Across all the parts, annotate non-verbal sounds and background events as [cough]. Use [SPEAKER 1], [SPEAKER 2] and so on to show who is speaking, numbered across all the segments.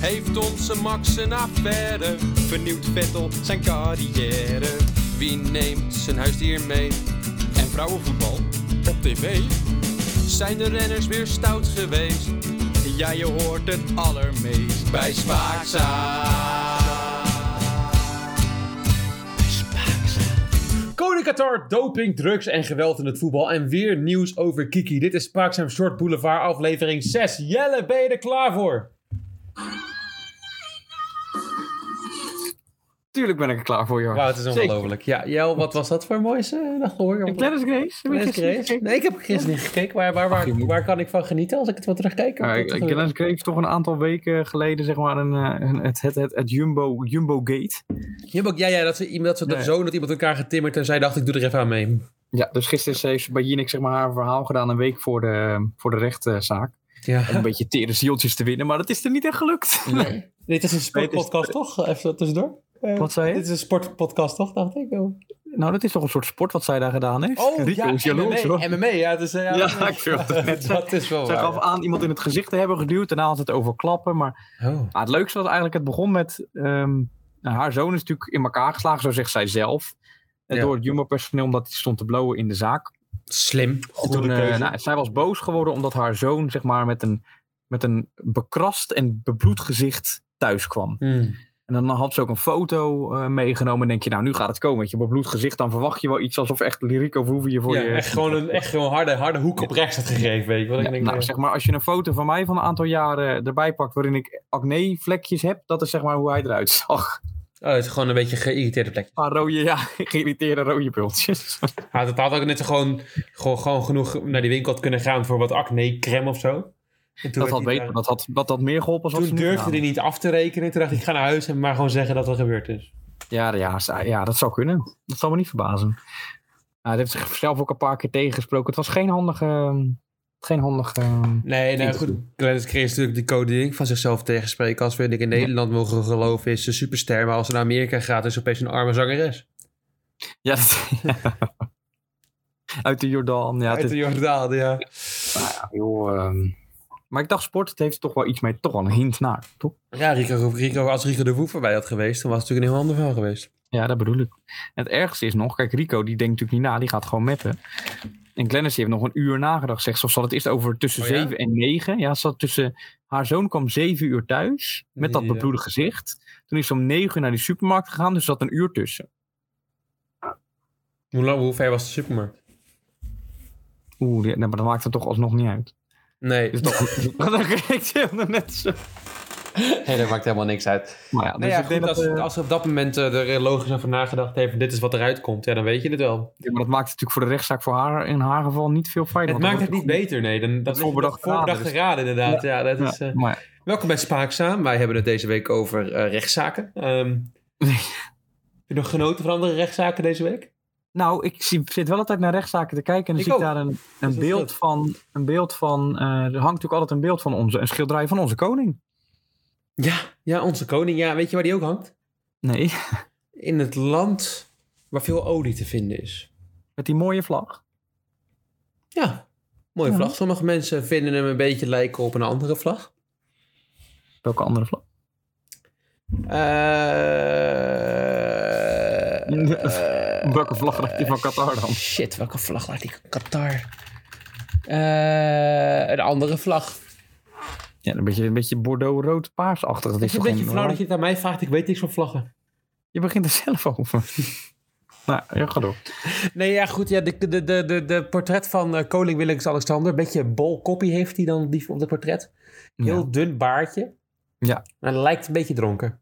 [SPEAKER 1] Heeft onze Max een affaire? Vernieuwt Vettel zijn carrière? Wie neemt zijn huisdier mee? En vrouwenvoetbal op tv? Zijn de renners weer stout geweest? Ja, je hoort het allermeest bij Spaakzaam.
[SPEAKER 2] Koning Qatar, doping, drugs en geweld in het voetbal. En weer nieuws over Kiki. Dit is Spaakzaam Short Boulevard, aflevering 6. Jelle, ben je er klaar voor?
[SPEAKER 3] Tuurlijk ben ik er klaar voor, joh.
[SPEAKER 2] Wauw, Oh, het is
[SPEAKER 3] Zeker.
[SPEAKER 2] ongelooflijk. Ja, Jel, wat was dat voor moois? Uh, dag hoor.
[SPEAKER 3] Een Gladys Grace? Heb je
[SPEAKER 2] Gladys
[SPEAKER 3] gisteren
[SPEAKER 2] Grace?
[SPEAKER 3] gekeken?
[SPEAKER 2] Nee, ik heb gisteren niet gekeken. Waar, waar,
[SPEAKER 3] Ach, je
[SPEAKER 2] waar,
[SPEAKER 3] moet-
[SPEAKER 2] waar kan ik van genieten als ik het wil terugkijken?
[SPEAKER 3] Maar,
[SPEAKER 2] Wat-
[SPEAKER 3] eh,
[SPEAKER 2] wat-
[SPEAKER 3] Gladys Grace toch een aantal weken geleden zeg maar een, eh, een- het, het, het, het Jumbo, Jumbo Gate.
[SPEAKER 2] Je hebt ook, ja, ja, dat ze, iemand- dat ze
[SPEAKER 3] Nee.
[SPEAKER 2] zo dat iemand elkaar getimmerd en zij dacht, ik doe er even aan mee.
[SPEAKER 3] Ja, dus gisteren heeft bij Jinek zeg maar haar verhaal gedaan een week voor de, voor de rechtszaak.
[SPEAKER 2] Ja.
[SPEAKER 3] Om [laughs] een beetje tere zieltjes te winnen, maar dat is er niet echt gelukt.
[SPEAKER 2] Dit is een sportpodcast, toch? Even zo tussendoor. Eh,
[SPEAKER 3] Wat zei je?
[SPEAKER 2] Dit is een sportpodcast, toch? Dacht ik. Oh,
[SPEAKER 3] [laughs] Nou, dat is toch een soort sport wat zij daar gedaan heeft? [laughs] Rico is jaloers, hoor.
[SPEAKER 2] MMA, MMA, ja. Dus, eh, ja,
[SPEAKER 3] Ja, ik wil het net zeggen.
[SPEAKER 2] [laughs] dat is wel
[SPEAKER 3] Zij
[SPEAKER 2] waar.
[SPEAKER 3] gaf aan iemand in het gezicht te hebben geduwd. Daarna had het over klappen. Maar
[SPEAKER 2] Oh.
[SPEAKER 3] ah, het leukste was eigenlijk, het begon met... ehm, nou, haar zoon is natuurlijk in elkaar geslagen, zo zegt zij zelf. eh,
[SPEAKER 2] Ja.
[SPEAKER 3] Door het jumbo-personeel, omdat hij stond te blowen in de zaak.
[SPEAKER 2] Slim.
[SPEAKER 3] En toen, eh, nou, zij was boos geworden omdat haar zoon zeg maar, met, een, met een bekrast en bebloed gezicht thuis kwam.
[SPEAKER 2] nou,
[SPEAKER 3] En dan had ze ook een foto eh, meegenomen. En denk je, nou nu gaat het komen. Met je bebloed gezicht, dan verwacht je wel iets alsof echt Lyrico Verhoeven je voor
[SPEAKER 2] Ja,
[SPEAKER 3] je...
[SPEAKER 2] echt gewoon een echt gewoon harde, harde hoek op rechts had gegeven, weet je wel. Ik
[SPEAKER 3] Ja,
[SPEAKER 2] denk,
[SPEAKER 3] nou,
[SPEAKER 2] eh,
[SPEAKER 3] zeg maar, als je een foto van mij van een aantal jaren erbij pakt waarin ik acne-vlekjes heb, dat is zeg maar hoe hij eruit zag.
[SPEAKER 2] Oh, het is gewoon een beetje geïrriteerde plek.
[SPEAKER 3] Maar rode, ja, [laughs] geïrriteerde rode pultjes.
[SPEAKER 2] Hij had, hij had ook net zo gewoon, gewoon, gewoon genoeg naar die winkel had kunnen gaan voor wat acne-crème of zo. En toen
[SPEAKER 3] Dat
[SPEAKER 2] werd
[SPEAKER 3] had,
[SPEAKER 2] hij
[SPEAKER 3] beter,
[SPEAKER 2] daar-
[SPEAKER 3] dat, had, dat had meer geholpen. als wat
[SPEAKER 2] Toen
[SPEAKER 3] ze nu
[SPEAKER 2] durfde hij
[SPEAKER 3] gedaan
[SPEAKER 2] niet af te rekenen. Toen dacht ik, ik ga naar huis en maar gewoon zeggen dat er gebeurd is.
[SPEAKER 3] hebben. Ja, ja, ze- ja, dat zou kunnen. Dat zal me niet verbazen. Nou, dat heeft zichzelf ook een paar keer tegengesproken. Het was geen handige... Geen handige... ehm,
[SPEAKER 2] Nee, nou
[SPEAKER 3] Niet
[SPEAKER 2] goed. Gladys Grace is natuurlijk die codering van zichzelf tegenspreken. Als we denk ik, in Nederland mogen geloven is ze superster. Maar als ze naar Amerika gaat is ze opeens een arme zangeres.
[SPEAKER 3] Ja, dat- Uit de Jordaan. Ja, het
[SPEAKER 2] Uit
[SPEAKER 3] is-
[SPEAKER 2] de Jordaan, ja.
[SPEAKER 3] ja, joh, ehm. Maar ik dacht, sport, het heeft toch wel iets mee, toch wel een hint naar, toch?
[SPEAKER 2] Ja, Rico, Rico, als Rico de Woe voorbij had geweest, dan was het natuurlijk een heel ander verhaal geweest.
[SPEAKER 3] Ja, dat bedoel ik. En het ergste is nog, kijk, Rico die denkt natuurlijk niet na, die gaat gewoon meppen. En Glennis heeft nog een uur nagedacht, zegt ze. Of ze had het eerst over tussen
[SPEAKER 2] Oh ja?
[SPEAKER 3] zeven en negen. Ja, ze had tussen, haar zoon kwam zeven uur thuis met dat
[SPEAKER 2] Ja.
[SPEAKER 3] bebloede gezicht. Toen is ze om negen uur naar die supermarkt gegaan, dus er zat een uur tussen.
[SPEAKER 2] Hoe, lang, hoe ver was de supermarkt?
[SPEAKER 3] Oeh, die- nou, maar dat maakt het toch alsnog niet
[SPEAKER 2] [laughs]
[SPEAKER 3] uit.
[SPEAKER 2] Nee.
[SPEAKER 3] Dus [laughs] dat, ik wilde net zo.
[SPEAKER 2] nee, dat maakt helemaal niks uit.
[SPEAKER 3] Maar ja, dus
[SPEAKER 2] Nou ja,
[SPEAKER 3] ik denk
[SPEAKER 2] goed,
[SPEAKER 3] dat,
[SPEAKER 2] als,
[SPEAKER 3] eh,
[SPEAKER 2] als er op dat moment eh, er logisch over nagedacht heeft, dit is wat eruit komt, ja, dan weet je het wel.
[SPEAKER 3] ja, maar dat maakt het natuurlijk voor de rechtszaak voor haar in haar geval niet veel fijner.
[SPEAKER 2] Het
[SPEAKER 3] want
[SPEAKER 2] maakt
[SPEAKER 3] dan
[SPEAKER 2] het niet
[SPEAKER 3] wordt
[SPEAKER 2] beter, nee. Dan, dat is
[SPEAKER 3] voorbedachte
[SPEAKER 2] voorbedachte raden, inderdaad. Ja, dat is,
[SPEAKER 3] Ja,
[SPEAKER 2] eh,
[SPEAKER 3] maar
[SPEAKER 2] Welkom bij Spaakzaam. Wij hebben het deze week over eh, rechtszaken. [laughs] Ehm heb je nog genoten van andere rechtszaken deze week?
[SPEAKER 3] Nou, ik zie, zit wel altijd naar rechtszaken te kijken. En dan
[SPEAKER 2] Ik
[SPEAKER 3] zie ik Dus
[SPEAKER 2] ook.
[SPEAKER 3] daar een,
[SPEAKER 2] Dat
[SPEAKER 3] een
[SPEAKER 2] is goed.
[SPEAKER 3] beeld van. Een beeld van eh, er hangt natuurlijk altijd een beeld van onze. Een schilderij van onze koning.
[SPEAKER 2] Ja, ja, onze koning. Ja, weet je waar die ook hangt?
[SPEAKER 3] Nee,
[SPEAKER 2] In het land waar veel olie te vinden is.
[SPEAKER 3] met die mooie vlag.
[SPEAKER 2] Ja, mooie
[SPEAKER 3] Ja.
[SPEAKER 2] vlag. Sommige mensen vinden hem een beetje lijken op een andere vlag.
[SPEAKER 3] Welke andere vlag? [laughs]
[SPEAKER 2] Eh, eh,
[SPEAKER 3] Welke vlag raakt die van Qatar dan?
[SPEAKER 2] Shit, welke vlag laat ik Qatar? Eh, een andere vlag.
[SPEAKER 3] Ja, een beetje, een beetje Bordeaux-rood-paarsachtig. Dat
[SPEAKER 2] Het
[SPEAKER 3] is
[SPEAKER 2] is een
[SPEAKER 3] toch
[SPEAKER 2] beetje
[SPEAKER 3] geen-
[SPEAKER 2] flauw dat je het aan mij vraagt. Ik weet niks van vlaggen.
[SPEAKER 3] Je begint er zelf over. [laughs] nou, ja, ga door.
[SPEAKER 2] Nee, ja, goed. Ja, de, de, de, de, de portret van eh, koning Willem-Alexander. Een beetje bol koppie heeft hij dan die, op dat portret. Heel dun baardje.
[SPEAKER 3] Ja.
[SPEAKER 2] Maar hij lijkt een beetje dronken.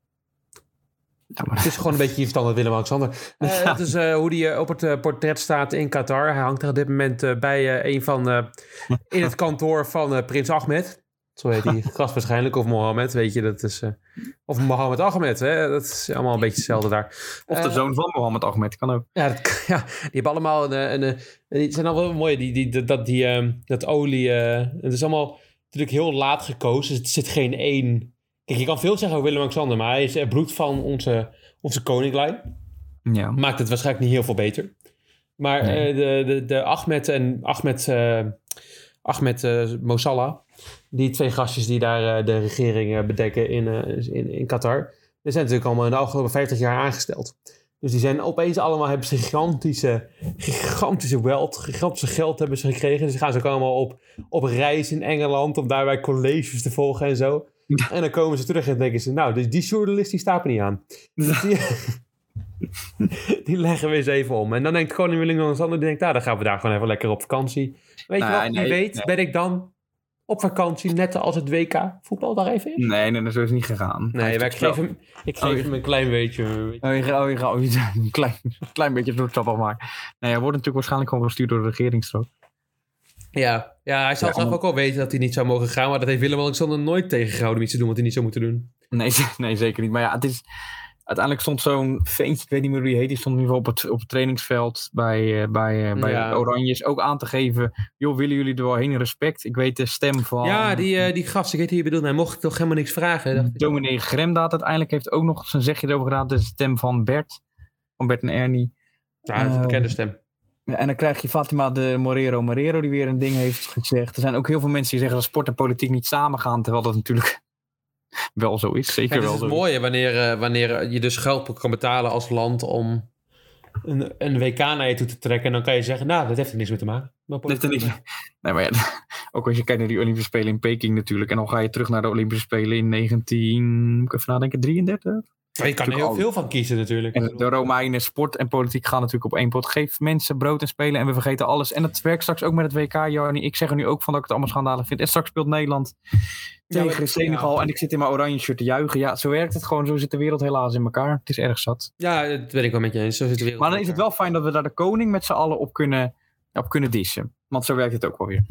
[SPEAKER 3] Ja, maar-
[SPEAKER 2] Het is gewoon een beetje in standaard Willem-Alexander. Eh,
[SPEAKER 3] [laughs] Ja.
[SPEAKER 2] Dat is eh, hoe hij op het eh, portret staat in Qatar. Hij hangt er op dit moment eh, bij eh, een van... eh, in het kantoor van eh, prins Ahmed. Zo heet hij. Gast
[SPEAKER 3] [laughs]
[SPEAKER 2] waarschijnlijk. Of Mohammed, weet je. Dat is, eh, of Mohammed Ahmed. Hè? Dat is allemaal een beetje hetzelfde daar.
[SPEAKER 3] Of de
[SPEAKER 2] Eh,
[SPEAKER 3] zoon van Mohammed Ahmed kan ook.
[SPEAKER 2] ja, dat kan- [laughs] ja, die hebben allemaal een... eh, een, eh, die zijn allemaal wel mooi, die, die, dat- dat, die, ehm, dat olie. eh, het is allemaal natuurlijk heel laat gekozen. Dus het zit geen één... Kijk, je kan veel zeggen over Willem-Alexander, maar hij is eh, bloed van onze, onze koninklijn.
[SPEAKER 3] Ja.
[SPEAKER 2] Nou, Maakt het waarschijnlijk niet heel veel beter. Maar
[SPEAKER 3] Nee.
[SPEAKER 2] eh, de, de, de Ahmed en Ahmed... eh, Ahmed eh Mosalla. Die twee gastjes die daar eh, de regering eh, bedekken in, eh, in, in Qatar. Die zijn natuurlijk allemaal in de afgelopen 50 jaar aangesteld. Dus die zijn opeens allemaal, hebben ze gigantische, gigantische wealth, gigantische geld hebben ze gekregen. Dus gaan ze ook allemaal op, op reis in Engeland om daarbij colleges te volgen en
[SPEAKER 3] [laughs]
[SPEAKER 2] zo. En dan komen ze terug en denken ze, nou, dus die journalist die staat me niet aan. Dus [laughs] die, die leggen we eens even om. En dan denkt Koning Willem Alexander, die denkt, nou, dan gaan we daar gewoon even lekker op vakantie. Weet
[SPEAKER 3] Nou,
[SPEAKER 2] je wat, wie
[SPEAKER 3] nee,
[SPEAKER 2] weet
[SPEAKER 3] nee.
[SPEAKER 2] ben ik dan op vakantie, net als het WK voetbal daar even is.
[SPEAKER 3] Nee, nee, nee, zo is het niet gegaan. Hij
[SPEAKER 2] Nee,
[SPEAKER 3] heeft
[SPEAKER 2] maar ik
[SPEAKER 3] het
[SPEAKER 2] geef
[SPEAKER 3] wel-
[SPEAKER 2] hem, ik
[SPEAKER 3] Oh,
[SPEAKER 2] geef
[SPEAKER 3] je-
[SPEAKER 2] hem een klein beetje. eh,
[SPEAKER 3] Oh, je ga- oh, je ga- oh, je- [laughs] een klein, klein beetje zoetsappig maar. Nee, hij wordt natuurlijk waarschijnlijk gewoon gestuurd door de regeringsstrook.
[SPEAKER 2] Ja, ja hij zal
[SPEAKER 3] Ja,
[SPEAKER 2] zelf
[SPEAKER 3] om-
[SPEAKER 2] ook al weten dat hij niet zou mogen gaan. Maar dat heeft Willem-Alexander nooit tegengehouden om iets te doen wat hij niet zou moeten doen.
[SPEAKER 3] Nee, [laughs] z- nee, zeker niet. Maar ja, het is... Uiteindelijk stond zo'n ventje, ik weet niet meer hoe die heet, die stond in ieder geval op het, op het trainingsveld bij, eh, bij, eh, bij
[SPEAKER 2] Ja.
[SPEAKER 3] de Oranjes ook aan te geven. Joh, willen jullie er wel heen in respect? Ik weet de stem van
[SPEAKER 2] Ja, die, eh, die gast, ik weet wie je bedoelt. Hij mocht toch helemaal niks vragen. dacht ik.
[SPEAKER 3] dominee Gremdaat uiteindelijk heeft ook nog zijn zegje erover gedaan. Dat is de stem van Bert, van Bert en Ernie.
[SPEAKER 2] Ja, dat is een bekende stem.
[SPEAKER 3] Ja, En dan krijg je Fatima de Morero Morero, die weer een ding heeft gezegd. Er zijn ook heel veel mensen die zeggen dat sport en politiek niet samengaan, terwijl dat natuurlijk [laughs] wel zo is. Zeker
[SPEAKER 2] Kijk,
[SPEAKER 3] wel
[SPEAKER 2] dat is
[SPEAKER 3] zo.
[SPEAKER 2] het mooie wanneer, eh, wanneer je dus geld kan betalen als land om een, een WK naar je toe te trekken. En dan kan je zeggen, nou, dat heeft er niks mee te maken. Maar
[SPEAKER 3] Dat heeft er niks Nee, maar ja, [laughs] ook als je kijkt naar die Olympische Spelen in Peking natuurlijk. En dan ga je terug naar de Olympische Spelen in 19... Moet ik even nadenken, 33?
[SPEAKER 2] Maar je kan er heel
[SPEAKER 3] Natuurlijk
[SPEAKER 2] veel van kiezen natuurlijk.
[SPEAKER 3] En de Romeinen, sport en politiek gaan natuurlijk op één pot. Geef mensen brood en spelen en we vergeten alles. En dat werkt straks ook met het WK, Jarni. Ik zeg er nu ook van dat ik het allemaal schandalig vind. En straks speelt Nederland tegen
[SPEAKER 2] maar-
[SPEAKER 3] Senegal.
[SPEAKER 2] ja.
[SPEAKER 3] En ik zit in mijn oranje shirt te juichen. Ja, zo werkt het gewoon. Zo zit de wereld helaas in elkaar. Het is erg zat.
[SPEAKER 2] Ja, dat ben ik wel met je eens. Zo zit de wereld
[SPEAKER 3] Maar dan
[SPEAKER 2] in
[SPEAKER 3] is het
[SPEAKER 2] elkaar.
[SPEAKER 3] wel fijn dat we daar de koning met z'n allen op kunnen, op kunnen dissen. Want zo werkt het ook wel weer.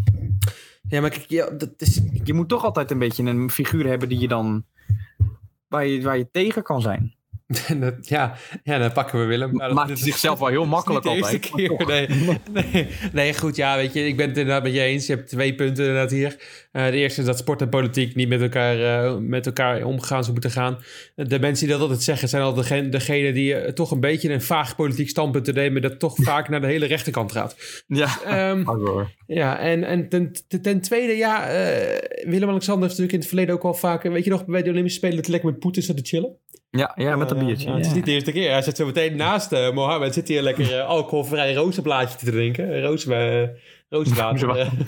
[SPEAKER 2] Ja, maar kijk, ja, dat is...
[SPEAKER 3] Je moet toch altijd een beetje een figuur hebben die je dan... Waar je, waar je tegen kan zijn.
[SPEAKER 2] dat- ja, ja, dan pakken we Willem. Maar dat-
[SPEAKER 3] Maakt
[SPEAKER 2] dat is-
[SPEAKER 3] zichzelf wel
[SPEAKER 2] [laughs]
[SPEAKER 3] heel makkelijk
[SPEAKER 2] niet de
[SPEAKER 3] altijd.
[SPEAKER 2] eerste keer, nee. nee. Nee, goed, ja, weet je, ik ben het inderdaad met je eens. Je hebt twee punten inderdaad hier. Eh, de eerste is dat sport en politiek niet met elkaar, eh, met elkaar omgaan zou moeten gaan. De mensen die dat altijd zeggen, zijn al degene, degene die eh, toch een beetje een vaag politiek standpunt te nemen, dat
[SPEAKER 3] [laughs]
[SPEAKER 2] toch vaak naar de hele rechterkant gaat.
[SPEAKER 3] Ja.
[SPEAKER 2] Ehm,
[SPEAKER 3] Oh, hoor.
[SPEAKER 2] ja, en, en ten, ten, ten tweede, ja, eh, Willem-Alexander heeft natuurlijk in het verleden ook wel vaak, weet je nog, bij de Olympische Spelen dat hij lekker met Poetin zat te chillen?
[SPEAKER 3] Ja, Eh, ja, met een
[SPEAKER 2] Ja,
[SPEAKER 3] biertje.
[SPEAKER 2] ja, het is niet de eerste keer. Hij zit zo meteen naast eh, Mohammed. Zit hier lekker eh, alcoholvrij rozenblaadje te drinken. Eh, Rozen, eh, rozenwater.
[SPEAKER 3] Rozenwater.
[SPEAKER 2] eh,
[SPEAKER 3] [laughs]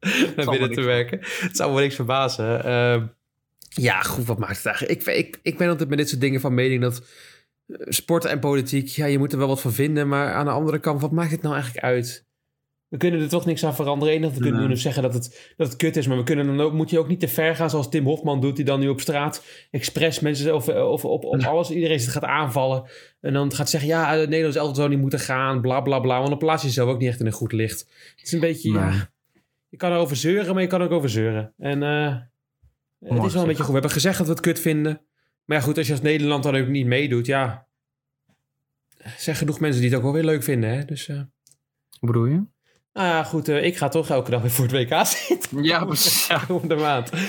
[SPEAKER 2] naar
[SPEAKER 3] allemaal
[SPEAKER 2] binnen
[SPEAKER 3] niks.
[SPEAKER 2] te werken. Het zou me niks verbazen. Ehm, ja, goed, wat maakt het eigenlijk? Ik, ik, ik ben altijd met dit soort dingen van mening dat eh, sport en politiek, ja, je moet er wel wat van vinden. Maar aan de andere kant, wat maakt het nou eigenlijk uit? We kunnen er toch niks aan veranderen. Het enige wat we kunnen
[SPEAKER 3] Nee.
[SPEAKER 2] doen is zeggen dat het, dat het kut is. Maar we kunnen dan ook, moet je ook niet te ver gaan zoals Tim Hofman doet. Die dan nu op straat expres mensen of, of op, op alles, iedereen gaat aanvallen. En dan gaat zeggen, ja, eh, Nederland is altijd zo niet moeten gaan. Bla, bla, bla. Want dan plaats je jezelf ook niet echt in een goed licht. Het is een beetje, ja,
[SPEAKER 3] Nee.
[SPEAKER 2] je kan erover zeuren, maar je kan ook over zeuren. En eh, het is wel
[SPEAKER 3] gezegd.
[SPEAKER 2] een beetje goed. We hebben gezegd dat we het kut vinden. Maar ja, goed, als je als Nederland dan ook niet meedoet, ja. Er zijn genoeg mensen die het ook wel weer leuk vinden, hè. Dus, eh,
[SPEAKER 3] Hoe bedoel je?
[SPEAKER 2] nou ja, goed, eh, ik ga toch elke dag weer voor het WK [laughs] zitten.
[SPEAKER 3] Ja, precies. Ja.
[SPEAKER 2] Om de maand.
[SPEAKER 3] En,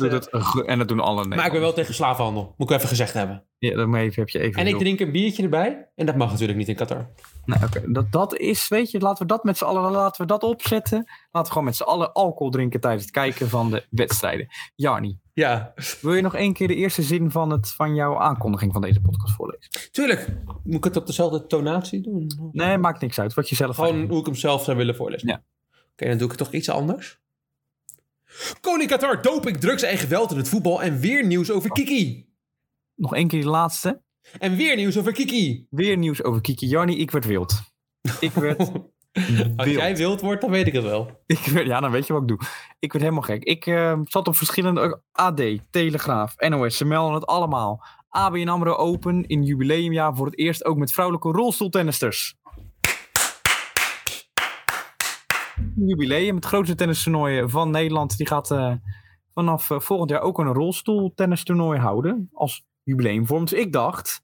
[SPEAKER 2] Dus,
[SPEAKER 3] doet
[SPEAKER 2] eh,
[SPEAKER 3] het, go- en dat doen alle Nederlanders.
[SPEAKER 2] Maar ik ben wel tegen slaafhandel, moet ik even gezegd hebben.
[SPEAKER 3] Ja, daarmee heb je even...
[SPEAKER 2] En ik
[SPEAKER 3] heel-
[SPEAKER 2] drink een biertje erbij. En dat mag natuurlijk niet in Qatar.
[SPEAKER 3] Nee, oké. dat, dat is, weet je, laten we dat met z'n allen laten we dat opzetten. Laten we gewoon met z'n allen alcohol drinken tijdens het kijken van de wedstrijden. Jarni,
[SPEAKER 2] Ja,
[SPEAKER 3] wil je nog één keer de eerste zin van, het, van jouw aankondiging van deze podcast voorlezen?
[SPEAKER 2] tuurlijk. Moet ik het op dezelfde tonatie doen?
[SPEAKER 3] Nee, maakt niks uit. Wat je zelf...
[SPEAKER 2] Gewoon hoe ik hem zelf zou willen voorlezen.
[SPEAKER 3] Ja.
[SPEAKER 2] Oké, dan doe ik het toch iets anders. Koning Qatar, doping, drugs en geweld in het voetbal. En weer nieuws over Kiki.
[SPEAKER 3] Nog één keer die laatste.
[SPEAKER 2] En weer nieuws over Kiki.
[SPEAKER 3] Weer nieuws over Kiki. Jarni, ik werd wild. Ik werd
[SPEAKER 2] Als
[SPEAKER 3] wild.
[SPEAKER 2] jij wild wordt, dan weet ik het wel.
[SPEAKER 3] Ik werd, ja, dan weet je wat ik doe. Ik werd helemaal gek. Ik eh, zat op verschillende AD, Telegraaf, NOS, ze melden het allemaal. ABN AMRO Open in jubileumjaar voor het eerst ook met vrouwelijke rolstoeltennisters. Jubileum, het grootste tennistoernooi van Nederland. Die gaat eh, vanaf eh, volgend jaar ook een rolstoeltennistoernooi houden. Als jubileumvorm. Dus ik dacht,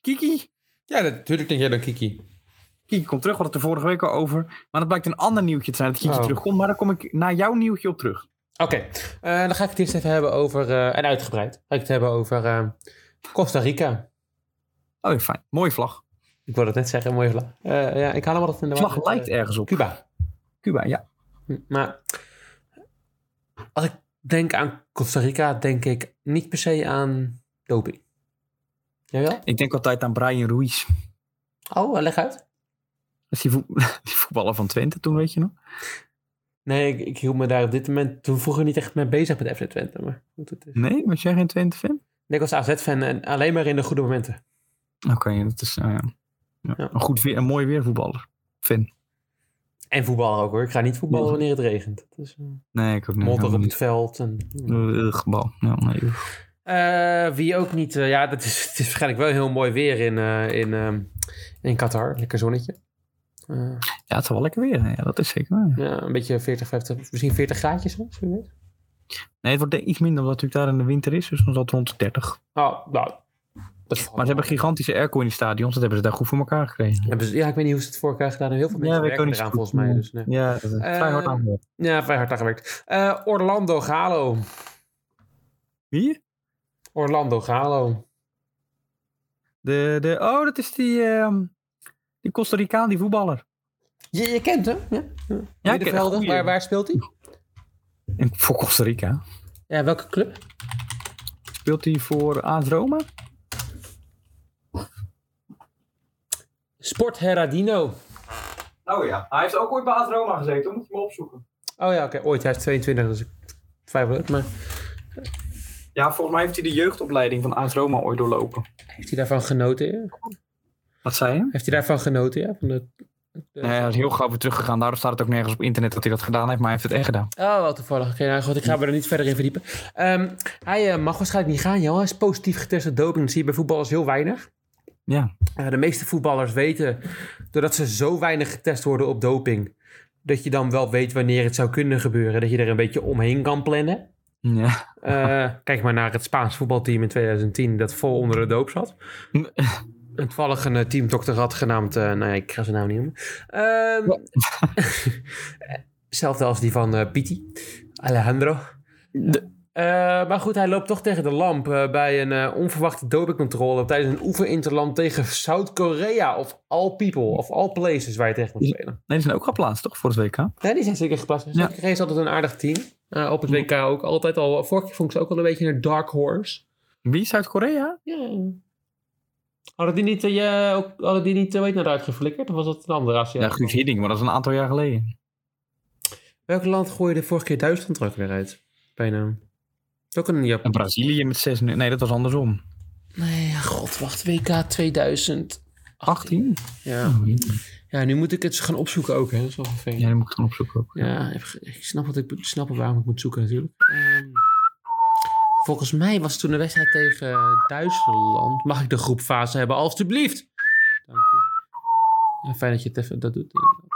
[SPEAKER 3] Kiki,
[SPEAKER 2] Ja, natuurlijk denk jij dan Kiki.
[SPEAKER 3] Kiki komt terug, we hadden het er vorige week al over. Maar dat blijkt een ander nieuwtje te zijn dat Kiki
[SPEAKER 2] Oh.
[SPEAKER 3] terugkomt. Maar daar kom ik naar jouw nieuwtje op terug.
[SPEAKER 2] Oké, eh, dan ga ik het eerst even hebben over... eh, en uitgebreid. Ga ik het hebben over eh, Costa Rica.
[SPEAKER 3] Oh, fijn. Mooie vlag.
[SPEAKER 2] Ik wilde het net zeggen, mooie vlag. Eh, ja, ik haal hem altijd in de
[SPEAKER 3] De
[SPEAKER 2] war
[SPEAKER 3] vlag
[SPEAKER 2] met, eh,
[SPEAKER 3] lijkt ergens op.
[SPEAKER 2] Cuba.
[SPEAKER 3] Cuba, ja.
[SPEAKER 2] Maar als ik denk aan Costa Rica, denk ik niet per se aan doping. Jij wel?
[SPEAKER 3] Ik denk altijd aan Brian Ruiz. [laughs]
[SPEAKER 2] Oh, leg uit.
[SPEAKER 3] Dat is die, voet- [laughs] die voetballer van Twente toen, weet je nog?
[SPEAKER 2] Nee, ik, ik hield me daar op dit moment toen vroeger niet echt mee bezig met FC Twente. Maar goed, het is.
[SPEAKER 3] Nee, was jij geen Twente-fan?
[SPEAKER 2] Nee, ik was AZ-fan en alleen maar in de goede momenten.
[SPEAKER 3] Oké, dat is eh, ja.
[SPEAKER 2] Ja.
[SPEAKER 3] een goed weer, een mooi weervoetballer. Fan.
[SPEAKER 2] En voetballen ook hoor. Ik ga niet voetballen wanneer het regent. Het is eh,
[SPEAKER 3] Nee, ik ook niet.
[SPEAKER 2] modder
[SPEAKER 3] Helemaal
[SPEAKER 2] op
[SPEAKER 3] niet.
[SPEAKER 2] het veld. En,
[SPEAKER 3] Eh, gebal. Ja, nee, oef.
[SPEAKER 2] Eh, wie ook niet. eh, ja, dat is, het is waarschijnlijk wel heel mooi weer in, eh, in, ehm, in Qatar. Lekker zonnetje. Eh,
[SPEAKER 3] ja, het is wel lekker weer. Ja, dat is zeker waar.
[SPEAKER 2] ja, een beetje 40, 50, misschien 40 graadjes soms. Wie weet.
[SPEAKER 3] Nee, het wordt denk ik iets minder omdat het natuurlijk daar in de winter is. Dus dan zal het rond de 30.
[SPEAKER 2] Oh, nou. Dat valt
[SPEAKER 3] Maar ze hebben gigantische airco in die stadions. Dat hebben ze daar goed voor elkaar gekregen.
[SPEAKER 2] Hebben ze- Ja, ik weet niet hoe ze het voor elkaar gedaan hebben. Heel veel
[SPEAKER 3] Ja,
[SPEAKER 2] mensen
[SPEAKER 3] weet ik ook
[SPEAKER 2] werken
[SPEAKER 3] niet zo
[SPEAKER 2] eraan
[SPEAKER 3] goed.
[SPEAKER 2] volgens mij. Dus, nee.
[SPEAKER 3] Ja, dat is vrij hard
[SPEAKER 2] Eh,
[SPEAKER 3] aan.
[SPEAKER 2] Ja, vrij hard aan gewerkt. Eh, Orlando Galo.
[SPEAKER 3] Wie?
[SPEAKER 2] Orlando Galo.
[SPEAKER 3] De, de, oh, dat is die, ehm, die Costa Ricaan, die voetballer.
[SPEAKER 2] Je, je kent hem, ja?
[SPEAKER 3] Ja,
[SPEAKER 2] Middenvelder.
[SPEAKER 3] goeie.
[SPEAKER 2] waar, waar speelt hij?
[SPEAKER 3] En Voor Costa Rica.
[SPEAKER 2] Ja, welke club?
[SPEAKER 3] Speelt hij voor AS Roma?
[SPEAKER 2] Sport Herradino.
[SPEAKER 3] Oh ja, hij heeft ook ooit bij AS Roma gezeten. Dan moet je hem opzoeken.
[SPEAKER 2] Oh ja, oké. Ooit, hij is 22, dus ik twijfel het. Maar
[SPEAKER 3] Ja, volgens mij heeft hij de jeugdopleiding van AS Roma ooit doorlopen.
[SPEAKER 2] heeft hij daarvan genoten? ja?
[SPEAKER 3] Wat zei je?
[SPEAKER 2] Heeft hij daarvan genoten, ja? Van de, de-
[SPEAKER 3] Nee, hij is heel gauw weer teruggegaan. Daarom staat het ook nergens op internet dat hij dat gedaan heeft. Maar hij heeft het echt gedaan.
[SPEAKER 2] Oh, wel toevallig. Oké, nou goed, ik ga me er niet verder in verdiepen. Ehm, hij eh, mag waarschijnlijk niet gaan, joh. Hij is positief getest op doping. Dat zie je bij voetballers heel weinig.
[SPEAKER 3] Ja.
[SPEAKER 2] Eh, de meeste voetballers weten, doordat ze zo weinig getest worden op doping, dat je dan wel weet wanneer het zou kunnen gebeuren. Dat je er een beetje omheen kan plannen.
[SPEAKER 3] Ja.
[SPEAKER 2] Eh, [laughs] kijk maar naar het Spaans voetbalteam in 2010 dat vol onder de doop zat. Een toevallig een eh, teamdokter had genaamd, eh nou ja, ik ga zijn naam niet noemen. Ehm, [laughs] Hetzelfde als die van eh Piti, Alejandro.
[SPEAKER 3] De-
[SPEAKER 2] Eh, maar goed, hij loopt toch tegen de lamp eh, bij een eh, onverwachte dopingcontrole tijdens een oefeninterland tegen Zuid-Korea of all people of all places waar je tegen moet
[SPEAKER 3] Is-
[SPEAKER 2] spelen.
[SPEAKER 3] Nee, die zijn ook geplaatst, toch? Voor het WK?
[SPEAKER 2] Nee, die zijn zeker geplaatst.
[SPEAKER 3] Ja.
[SPEAKER 2] Zuid-Korea is altijd een aardig team. Eh, op het
[SPEAKER 3] Ja.
[SPEAKER 2] WK ook altijd al. Vorige keer vond ik ze ook al een beetje een dark horse.
[SPEAKER 3] Wie is Zuid-Korea?
[SPEAKER 2] Ja. Hadden die niet, eh, je, ook, hadden die niet eh, weet naar eruit geflikkerd? Of was dat een andere Aziat?
[SPEAKER 3] Ja, Guus Hidding, maar dat is een aantal jaar geleden.
[SPEAKER 2] Welk land gooide vorige keer Duitsland er ook weer uit? Bijna. Het is Ook een
[SPEAKER 3] En
[SPEAKER 2] Japan.
[SPEAKER 3] Brazilië met 6 Nee, dat was andersom.
[SPEAKER 2] Nee, god, wacht. WK 2000.
[SPEAKER 3] 18?
[SPEAKER 2] Ja.
[SPEAKER 3] Ja,
[SPEAKER 2] ja, nu moet ik het gaan opzoeken ook, hè. Dat is wel vervelend.
[SPEAKER 3] die moet ik gaan opzoeken ook.
[SPEAKER 2] Ja, ik, ik snap wat ik ik snap wel waarom ik moet zoeken natuurlijk. Ehm, volgens mij was toen de wedstrijd tegen eh, Duitsland. Mag ik de groepfase hebben, alstublieft? Dank u. Ja, fijn dat je het even dat doet. inderdaad.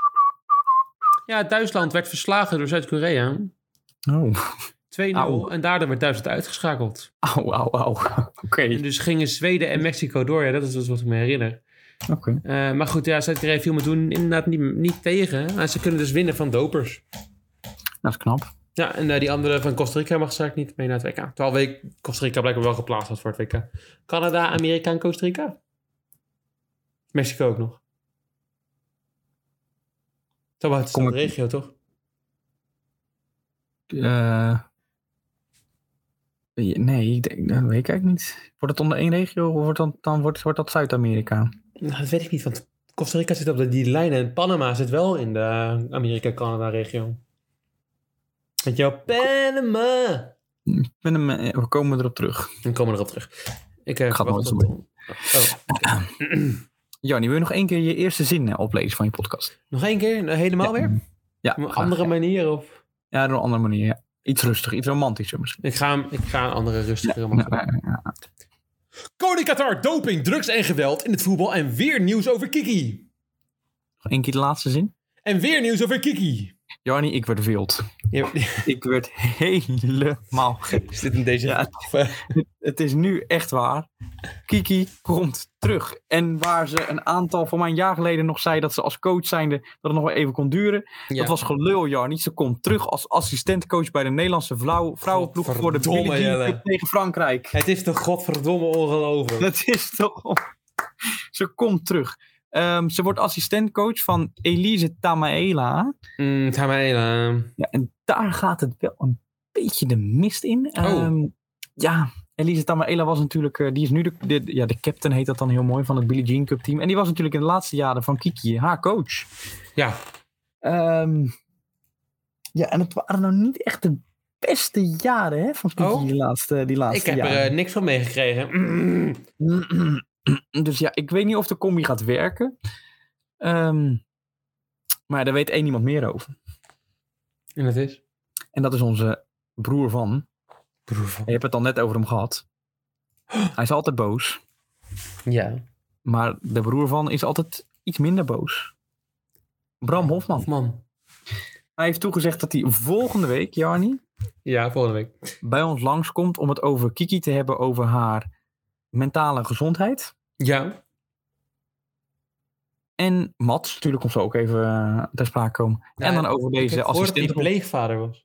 [SPEAKER 2] Ja, Duitsland werd verslagen door Zuid-Korea. 2-0
[SPEAKER 3] Oh. Au.
[SPEAKER 2] en daardoor werd Duitsland uitgeschakeld.
[SPEAKER 3] [laughs] Au, au, au. [laughs] Oké.
[SPEAKER 2] En dus gingen Zweden en Mexico door. Ja, dat is dus wat ik me herinner.
[SPEAKER 3] Oké.
[SPEAKER 2] Eh, maar goed, ja, Zuid-Korea viel me toen inderdaad niet, niet tegen. Maar ze kunnen dus winnen van dopers.
[SPEAKER 3] Dat is knap.
[SPEAKER 2] Ja, en eh, die andere van Costa Rica mag straks niet mee naar het WK. Terwijl week Costa Rica blijkbaar wel geplaatst was voor het WK. Canada, Amerika en Costa Rica. Mexico ook nog. Zo buiten
[SPEAKER 3] Kom
[SPEAKER 2] de regio, toch?
[SPEAKER 3] Eh, nee, ik denk, dat weet ik eigenlijk niet. Wordt het onder één regio of wordt, dan, dan wordt, wordt dat Zuid-Amerika?
[SPEAKER 2] Nou, dat weet ik niet, want Costa Rica zit op de- die lijn en Panama zit wel in de Amerika-Canada-regio. Weet je wel, Panama!
[SPEAKER 3] Ik ben hem, eh, We komen erop terug.
[SPEAKER 2] We komen erop terug. Ik eh,
[SPEAKER 3] Ik ga het
[SPEAKER 2] wacht
[SPEAKER 3] nooit
[SPEAKER 2] op- Oh.
[SPEAKER 3] Jannie, wil je nog één keer je eerste zin eh, oplezen van je podcast?
[SPEAKER 2] Nog één keer, Nou, helemaal
[SPEAKER 3] Ja.
[SPEAKER 2] weer?
[SPEAKER 3] Ja,
[SPEAKER 2] Op een
[SPEAKER 3] graag.
[SPEAKER 2] andere manier of...
[SPEAKER 3] Ja, op een andere manier. Ja. Iets rustiger, iets romantischer misschien.
[SPEAKER 2] Ik ga, hem- ik ga een andere rustigere
[SPEAKER 3] Ja,
[SPEAKER 2] maken.
[SPEAKER 3] ja, ja.
[SPEAKER 2] Koning Qatar, doping, drugs en geweld in het voetbal. En weer nieuws over Kiki.
[SPEAKER 3] Nog één keer de laatste zin.
[SPEAKER 2] En weer nieuws over Kiki.
[SPEAKER 3] Jannie, ik werd wild.
[SPEAKER 2] Ja, [laughs]
[SPEAKER 3] Ik werd helemaal gek.
[SPEAKER 2] zit in deze...
[SPEAKER 3] Ja. Het is nu echt waar. Kiki komt terug. En waar ze een aantal van mij een jaar geleden nog zei dat ze als coach zijnde dat het nog wel even kon duren. Dat was gelul, Jarnie. Ze komt terug als assistentcoach bij de Nederlandse vrouw, vrouwenploeg voor de
[SPEAKER 2] Godverdomme,
[SPEAKER 3] Billie Jean
[SPEAKER 2] Jelle.
[SPEAKER 3] Cup tegen Frankrijk.
[SPEAKER 2] Het is toch godverdomme ongelooflijk.
[SPEAKER 3] Dat is toch... Ze komt terug. Ehm, ze wordt assistentcoach van Elise Tamaela.
[SPEAKER 2] Mm, het gaat mij, eh,
[SPEAKER 3] Ja, en daar gaat het wel een beetje de mist in.
[SPEAKER 2] Oh.
[SPEAKER 3] Ehm, ja, Elise Tamaela was natuurlijk, eh, die is nu de, de, ja, de captain heet dat dan heel mooi, van het Billie Jean Cup team. En die was natuurlijk in de laatste jaren van Kiki, haar coach.
[SPEAKER 2] ja,
[SPEAKER 3] Ehm, ja, en het waren nou niet echt de beste jaren hè, van Kiki,
[SPEAKER 2] Oh.
[SPEAKER 3] die laatste, die laatste
[SPEAKER 2] ik heb er
[SPEAKER 3] jaren.
[SPEAKER 2] eh, niks van meegekregen.
[SPEAKER 3] [clears throat] Dus ja, ik weet niet of de combi gaat werken. Ehm, maar daar weet één iemand meer over.
[SPEAKER 2] [clears throat] En dat is?
[SPEAKER 3] En dat is onze broer van. Je hebt het al net over hem gehad. Hij is altijd boos.
[SPEAKER 2] Ja.
[SPEAKER 3] Maar de broer van is altijd iets minder boos. Bram Hofman.
[SPEAKER 2] Man.
[SPEAKER 3] Hij heeft toegezegd dat hij volgende week, Jarni,
[SPEAKER 2] Ja, volgende week.
[SPEAKER 3] bij ons langskomt om het over Kiki te hebben over haar mentale gezondheid.
[SPEAKER 2] Ja.
[SPEAKER 3] En Mats, natuurlijk komt ze ook even eh, ter sprake komen. en dan over deze
[SPEAKER 2] assistent. dat
[SPEAKER 3] assistent.
[SPEAKER 2] hij pleegvader was.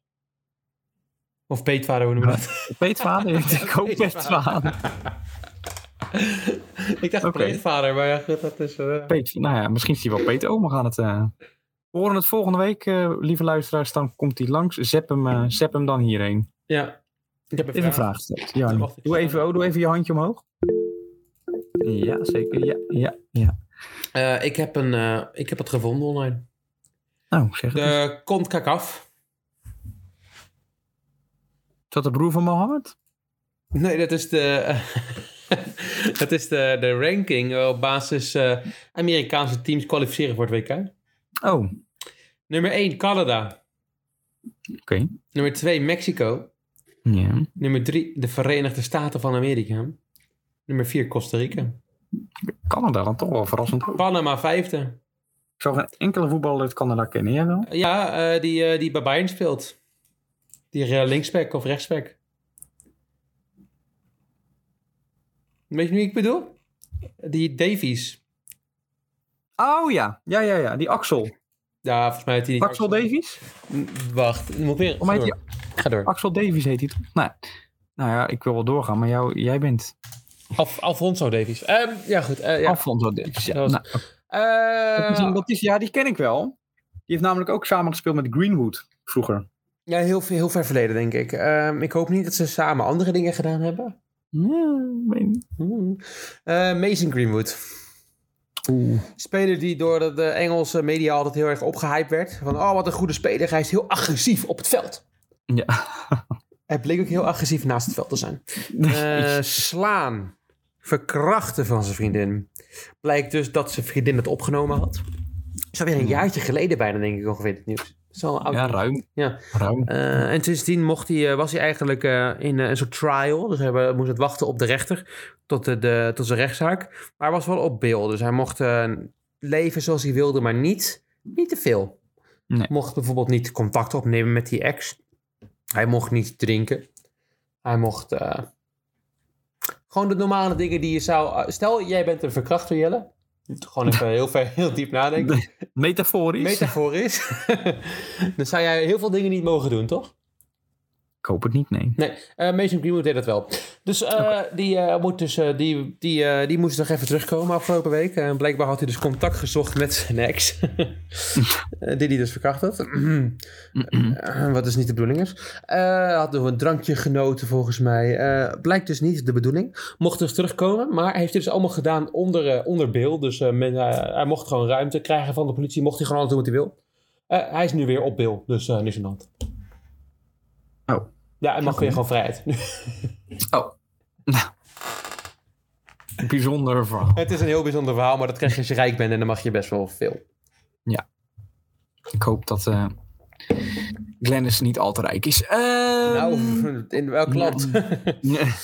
[SPEAKER 2] Of peetvader, hoe noem je dat? [laughs]
[SPEAKER 3] Peetvader? ik ook peetvader.
[SPEAKER 2] ik dacht
[SPEAKER 3] Oké.
[SPEAKER 2] pleegvader, maar ja, goed, dat is... eh,
[SPEAKER 3] Peet, nou ja, misschien is hij wel Peet oma gaan het... eh. We horen het volgende week, eh, lieve luisteraars. Dan komt hij langs. Zep hem, eh, zep hem dan hierheen.
[SPEAKER 2] ja. Ik heb
[SPEAKER 3] Het is een vraag gesteld. Jan,
[SPEAKER 2] Wacht, ik
[SPEAKER 3] doe,
[SPEAKER 2] ga-
[SPEAKER 3] even, oh, doe even je handje omhoog. Ja, zeker. Ja, ja, ja.
[SPEAKER 2] Eh, ik, heb een, eh, ik heb het gevonden online.
[SPEAKER 3] Nou, zeg het. eens.
[SPEAKER 2] De Kont Kakaf.
[SPEAKER 3] Is dat de broer van Mohammed?
[SPEAKER 2] Nee, dat is de... eh, [laughs] dat is de, de ranking op basis eh, Amerikaanse teams kwalificeren voor het WK.
[SPEAKER 3] Oh, oké.
[SPEAKER 2] Nummer 1, Canada. Nummer 2, Mexico.
[SPEAKER 3] Ja.
[SPEAKER 2] Nummer 3, de Verenigde Staten van Amerika. Nummer 4, Costa Rica.
[SPEAKER 3] Canada dan toch wel verrassend. Ik
[SPEAKER 2] Panama vijfde.
[SPEAKER 3] zou geen enkele voetballer uit Canada kennen, jij wel?
[SPEAKER 2] Ja, eh, die, eh, die bij Bayern speelt. Die eh, linksback of rechtsback. Weet je wie ik bedoel? Die Davies.
[SPEAKER 3] Oh ja, ja, ja, ja. Die Axel.
[SPEAKER 2] Ja, volgens mij heet hij...
[SPEAKER 3] Axel Davies?
[SPEAKER 2] Mm, Wacht, ik moet weer...
[SPEAKER 3] Volgens mij heet die
[SPEAKER 2] Ga door.
[SPEAKER 3] Axel Davies heet hij toch? Nou, nou ja, ik wil wel doorgaan, maar jou, jij bent
[SPEAKER 2] Af, Alfonso Davies. Ehm, ja, goed. eh, ja.
[SPEAKER 3] Alfonso Davies. Ja.
[SPEAKER 2] Dat was-
[SPEAKER 3] Nou,
[SPEAKER 2] Eh,
[SPEAKER 3] dat is, dat is- ja, die ken ik wel. Die heeft namelijk ook samen gespeeld met Greenwood vroeger.
[SPEAKER 2] ja, heel, heel ver verleden, denk ik. Ehm, ik hoop niet dat ze samen andere dingen gedaan hebben.
[SPEAKER 3] Ja, weet niet.
[SPEAKER 2] Hmm. Eh, Mason Greenwood. speler die door de, de Engelse media altijd heel erg opgehyped werd. Van, oh, wat een goede speler. Hij is heel agressief op het veld.
[SPEAKER 3] Ja.
[SPEAKER 2] Hij bleek ook heel agressief naast het veld te zijn. Eh, slaan. Verkrachten van zijn vriendin. Blijkt dus dat zijn vriendin het opgenomen had. Is alweer een jaartje geleden bijna, denk ik ongeveer, dit nieuws. Is al oud.
[SPEAKER 3] ja, ruim.
[SPEAKER 2] Oh. Ja.
[SPEAKER 3] ruim.
[SPEAKER 2] Eh, en sindsdien mocht hij, eh, was hij eigenlijk eh, in eh, een soort trial. Dus hij eh, moest het wachten op de rechter tot, de, de, tot zijn rechtszaak. Maar hij was wel op beeld. Dus hij mocht eh, leven zoals hij wilde, maar niet, niet te veel.
[SPEAKER 3] Nee.
[SPEAKER 2] Mocht bijvoorbeeld niet contact opnemen met die ex. Hij mocht niet drinken. Hij mocht... eh, gewoon de normale dingen die je zou... eh, stel, jij bent een verkrachter, Jelle. Gewoon even heel, ver, heel diep nadenken.
[SPEAKER 3] Metaforisch.
[SPEAKER 2] Metaforisch. [laughs] Dan zou jij heel veel dingen niet mogen doen, toch?
[SPEAKER 3] ik hoop het niet, nee.
[SPEAKER 2] Nee, eh Mason Greenwood deed dat wel. Dus, eh, die, eh, moet dus eh, die, die, eh, die moest nog even terugkomen afgelopen week. En blijkbaar had hij dus contact gezocht met zijn ex. [laughs] Eh, die hij dus verkracht had. [clears throat] Eh, Wat dus niet de bedoeling is. Eh had nog een drankje genoten volgens mij. Eh, blijkt dus niet de bedoeling. Mocht dus terugkomen, maar hij heeft dit dus allemaal gedaan onder, eh, onder beeld. Dus eh, men, eh, hij mocht gewoon ruimte krijgen van de politie. Mocht hij gewoon alles doen wat hij wil. Eh, hij is nu weer op beeld, dus eh niks aan de hand.
[SPEAKER 3] Oh.
[SPEAKER 2] Ja, hij mag weer gewoon vrijheid. [laughs]
[SPEAKER 3] Oh. Bijzonder verhaal.
[SPEAKER 2] Het is een heel bijzonder verhaal, maar dat krijg je als je rijk bent en dan mag je best wel veel.
[SPEAKER 3] Ik hoop dat eh Glennis niet al te rijk is. Ehm,
[SPEAKER 2] Nou, [laughs] in welk land? Nou.
[SPEAKER 3] Nee. [laughs]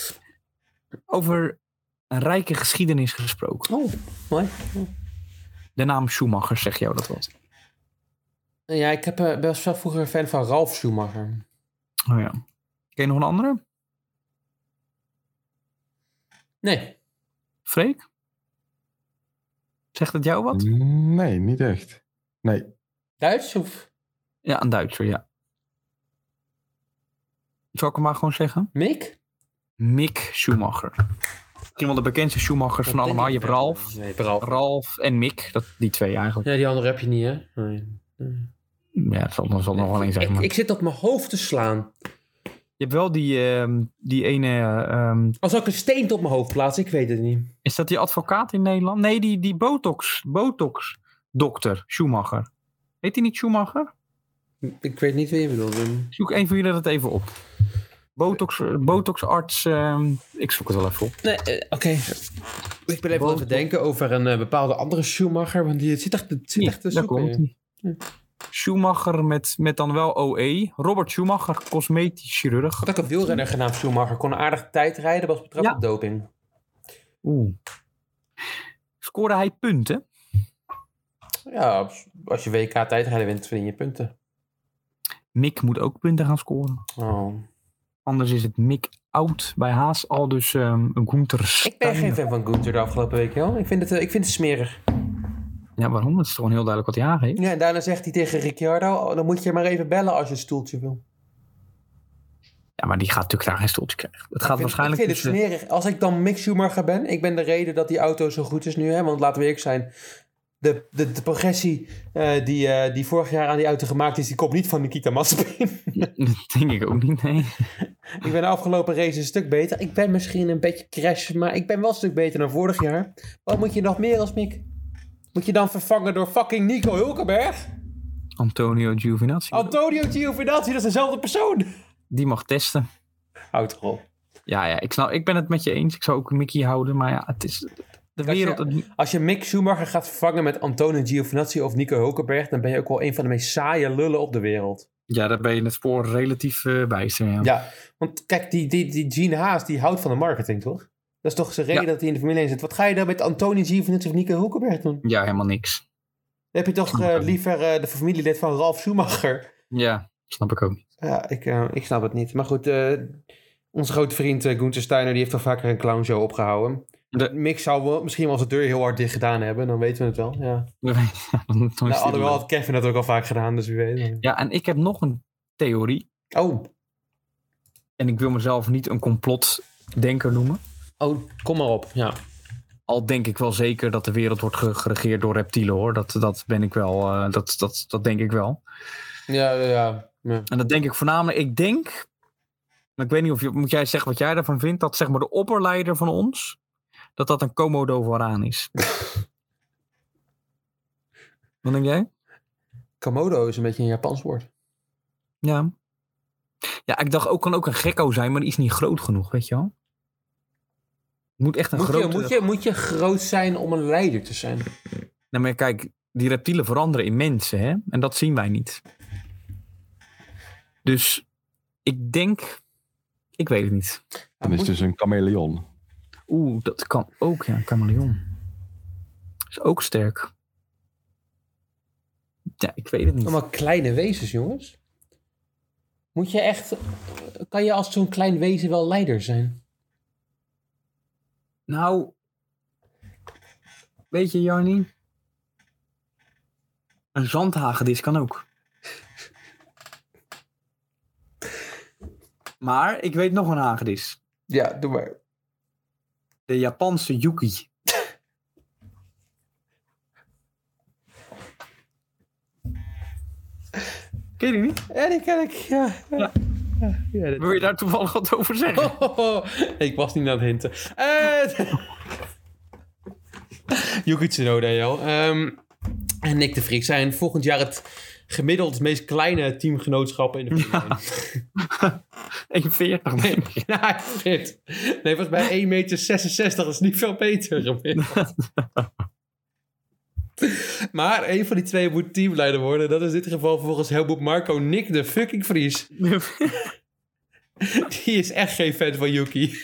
[SPEAKER 3] Over een rijke geschiedenis gesproken.
[SPEAKER 2] Oh, mooi.
[SPEAKER 3] De naam Schumacher, zeg jou dat wat?
[SPEAKER 2] Ja, ik heb, eh, was wel vroeger een fan van Ralf Schumacher.
[SPEAKER 3] Oh ja. Ken je nog een andere?
[SPEAKER 2] Nee.
[SPEAKER 3] Freek? Zegt het jou wat?
[SPEAKER 4] Nee, niet echt. Nee.
[SPEAKER 2] Duits of
[SPEAKER 3] Ja, een Duitser, ja. Zal ik hem maar gewoon zeggen?
[SPEAKER 2] Mick?
[SPEAKER 3] Mick Schumacher. Misschien wel de bekendste Schumachers van allemaal. Je hebt Ralf,
[SPEAKER 2] Nee, Ralf.
[SPEAKER 3] Ralf en Mick. Dat, die twee eigenlijk.
[SPEAKER 2] Ja, die andere heb je niet, hè? Nee.
[SPEAKER 3] Ja, dat zal, dat zal nog wel één zijn.
[SPEAKER 2] Ik,
[SPEAKER 3] maar-
[SPEAKER 2] ik zit op mijn hoofd te slaan.
[SPEAKER 3] Je hebt wel die, ehm, die ene... ehm,
[SPEAKER 2] Als ik een steen op mijn hoofd plaats, ik weet het niet.
[SPEAKER 3] is dat die advocaat in Nederland? Nee, die, die botox, botox dokter Schumacher. Heet die niet Schumacher?
[SPEAKER 2] Ik weet niet wie je bedoelt. Wim.
[SPEAKER 3] Zoek een van jullie dat even op. Botox, botoxarts... ehm, ik zoek het wel even op.
[SPEAKER 2] Nee, eh, oké. Ik ben even aan het verdenken over een eh, bepaalde andere Schumacher, want die het zit echt, het zit echt te
[SPEAKER 3] dat
[SPEAKER 2] zoeken.
[SPEAKER 3] komt niet. Schumacher met, met dan wel OE. Robert Schumacher, cosmetisch chirurg.
[SPEAKER 2] Had ook een wielrenner genaamd Schumacher. Kon een aardige tijd rijden, was betrapt
[SPEAKER 3] Ja.
[SPEAKER 2] op doping.
[SPEAKER 3] Oeh. Scoorde hij punten?
[SPEAKER 2] Ja, als- als je WK tijdrijden wint, verdien je punten.
[SPEAKER 3] Mick moet ook punten gaan scoren.
[SPEAKER 2] Oh.
[SPEAKER 3] Anders is het Mick out bij Haas al dus ehm Gunther
[SPEAKER 2] Ik ben geen
[SPEAKER 3] Steiner.
[SPEAKER 2] fan van Gunther de afgelopen week, joh. Ik vind het, eh, ik vind het smerig.
[SPEAKER 3] Ja, waarom? Dat is toch gewoon heel duidelijk wat hij aangeeft.
[SPEAKER 2] Ja, en daarna zegt hij tegen Ricciardo, oh, dan moet je maar even bellen als je een stoeltje wil.
[SPEAKER 3] Ja, maar die gaat natuurlijk graag een stoeltje krijgen. Het gaat
[SPEAKER 2] ik vind,
[SPEAKER 3] waarschijnlijk dus,
[SPEAKER 2] ik vind
[SPEAKER 3] tussen-
[SPEAKER 2] het smerig. Als ik dan Mick Schumacher ben, ik ben de reden dat die auto zo goed is nu. Hè? Want laten we eerlijk zijn, de, de, de progressie eh, die, eh, die vorig jaar aan die auto gemaakt is, die komt niet van Nikita Mazepin. [laughs]
[SPEAKER 3] [laughs] Dat denk ik ook niet, nee.
[SPEAKER 2] ik ben de afgelopen race een stuk beter. Ik ben misschien een beetje crash, maar ik ben wel een stuk beter dan vorig jaar. Wat moet je nog meer als Mick? Moet je dan vervangen door fucking Nico Hulkenberg?
[SPEAKER 3] Antonio Giovinazzi.
[SPEAKER 2] Antonio Giovinazzi, dat is dezelfde persoon.
[SPEAKER 3] Die mag testen.
[SPEAKER 2] Houd toch op.
[SPEAKER 3] Ja, ja, ik, snap, ik ben het met je eens. Ik zou ook Mickey houden, maar ja, het is...
[SPEAKER 2] je-
[SPEAKER 3] De wereld... het-
[SPEAKER 2] Als je Mick Schumacher gaat vervangen met Antonio Giovinazzi of Nico Hulkenberg, dan ben je ook wel een van de meest saaie lullen op de wereld.
[SPEAKER 3] Ja, daar ben je het spoor relatief eh, bijster, ja.
[SPEAKER 2] Ja, want kijk, die, die, die Gene Haas, die houdt van de marketing, toch? Dat is toch zijn reden
[SPEAKER 3] Ja.
[SPEAKER 2] dat hij in de Formule 1 zit. Wat ga je dan met Antonio Giovinazzi of Nico Hulkenberg doen?
[SPEAKER 3] Ja, helemaal niks.
[SPEAKER 2] Dan heb je toch eh, liever eh, de familielid van Ralf Schumacher?
[SPEAKER 3] Ja, snap ik ook niet. [laughs]
[SPEAKER 2] Ja, ik, eh, ik snap het niet. Maar goed, eh, onze grote vriend eh, Gunther Steiner... die heeft toch vaker een clownshow opgehouden.
[SPEAKER 3] De-
[SPEAKER 2] Mick zou wel, misschien wel zijn deur heel hard dicht gedaan hebben. Dan weten we het wel, ja.
[SPEAKER 3] nou,
[SPEAKER 2] Nou, alhoewel had Kevin dat ook al vaak gedaan, dus wie weet.
[SPEAKER 3] Ja, en ik heb nog een theorie.
[SPEAKER 2] Oh,
[SPEAKER 3] En ik wil mezelf niet een complotdenker noemen.
[SPEAKER 2] oh, kom maar op, ja.
[SPEAKER 3] Al denk ik wel zeker dat de wereld wordt ge- geregeerd door reptielen hoor. Dat, dat ben ik wel. eh, dat, dat, dat denk ik wel.
[SPEAKER 2] Ja, ja, ja.
[SPEAKER 3] En dat denk ik voornamelijk. Ik denk. Ik weet niet of je, moet jij zeggen wat jij daarvan vindt. Dat zeg maar de opperleider van ons. Dat dat een Komodo vooraan
[SPEAKER 2] [laughs]
[SPEAKER 3] is. wat denk jij?
[SPEAKER 2] Komodo is een beetje een Japans woord.
[SPEAKER 3] Ja. Ja, ik dacht ook kan ook een gekko zijn, maar die is niet groot genoeg, weet je wel. Moet echt een
[SPEAKER 2] Moet
[SPEAKER 3] grote...
[SPEAKER 2] je, moet, je, moet je groot zijn om een leider te zijn?
[SPEAKER 3] Nou, maar kijk, die reptielen veranderen in mensen, hè? En dat zien wij niet. Dus ik denk. Ik weet het niet.
[SPEAKER 4] Dan is
[SPEAKER 2] Moet-
[SPEAKER 4] het dus een chameleon.
[SPEAKER 3] Oeh, dat kan ook, ja. Een chameleon. Is ook sterk. Ja, ik weet het niet.
[SPEAKER 2] Allemaal kleine wezens, jongens. Moet je echt... Kan je als zo'n klein wezen wel leider zijn?
[SPEAKER 3] Nou. Weet je, Jarni? Een zandhagedis kan ook. Maar ik weet nog een hagedis.
[SPEAKER 2] Ja, doe maar.
[SPEAKER 3] De Japanse Yuki. Ken je die niet?
[SPEAKER 2] Ja, die ken ik. Ja.
[SPEAKER 3] Ja.
[SPEAKER 2] Ja, dat-
[SPEAKER 3] Wil je daar toevallig wat over zeggen?
[SPEAKER 2] Oh, Ik was niet aan het hinten. Eh Yuki Tsunoda, joh. Ehm, en Nick de Vries zijn volgend jaar het gemiddeld meest kleine teamgenootschap in de Formule 1.
[SPEAKER 3] 1,40 denk ik.
[SPEAKER 2] Ja, shit. Nee, volgens mij 1,66 meter is niet veel beter. gemiddeld. [laughs] maar een van die twee moet teamleider worden. Dat is in dit geval volgens Helmoet Marco Nick de fucking [laughs] Vries. Die is echt geen fan van Yuki.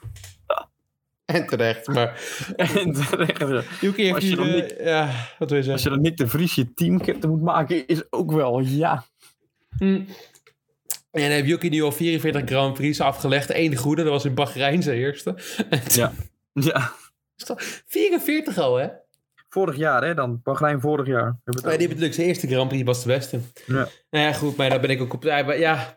[SPEAKER 2] [laughs] en terecht, maar...
[SPEAKER 3] En terecht.
[SPEAKER 2] Yuki heeft
[SPEAKER 3] Als je
[SPEAKER 2] hier...
[SPEAKER 3] dan
[SPEAKER 2] eh, ja, wat wil je zeggen?
[SPEAKER 3] Als je dan Nick de Vries je teamcaptain moet maken, is ook wel ja.
[SPEAKER 2] Mm. En dan heeft Yuki nu al 44 Grand Prix afgelegd. Eén goede, dat was [laughs] in Bahrein zijn eerste.
[SPEAKER 3] Ja.
[SPEAKER 2] Is toch- 44 al, hè?
[SPEAKER 3] Vorig jaar, hè dan? Bahrein vorig jaar. Hebben we het
[SPEAKER 2] Maar die hebben het leukste eerste Grand Prix, was de beste.
[SPEAKER 3] Ja.
[SPEAKER 2] Nou ja, goed, maar daar ben ik ook op. Ja, maar ja,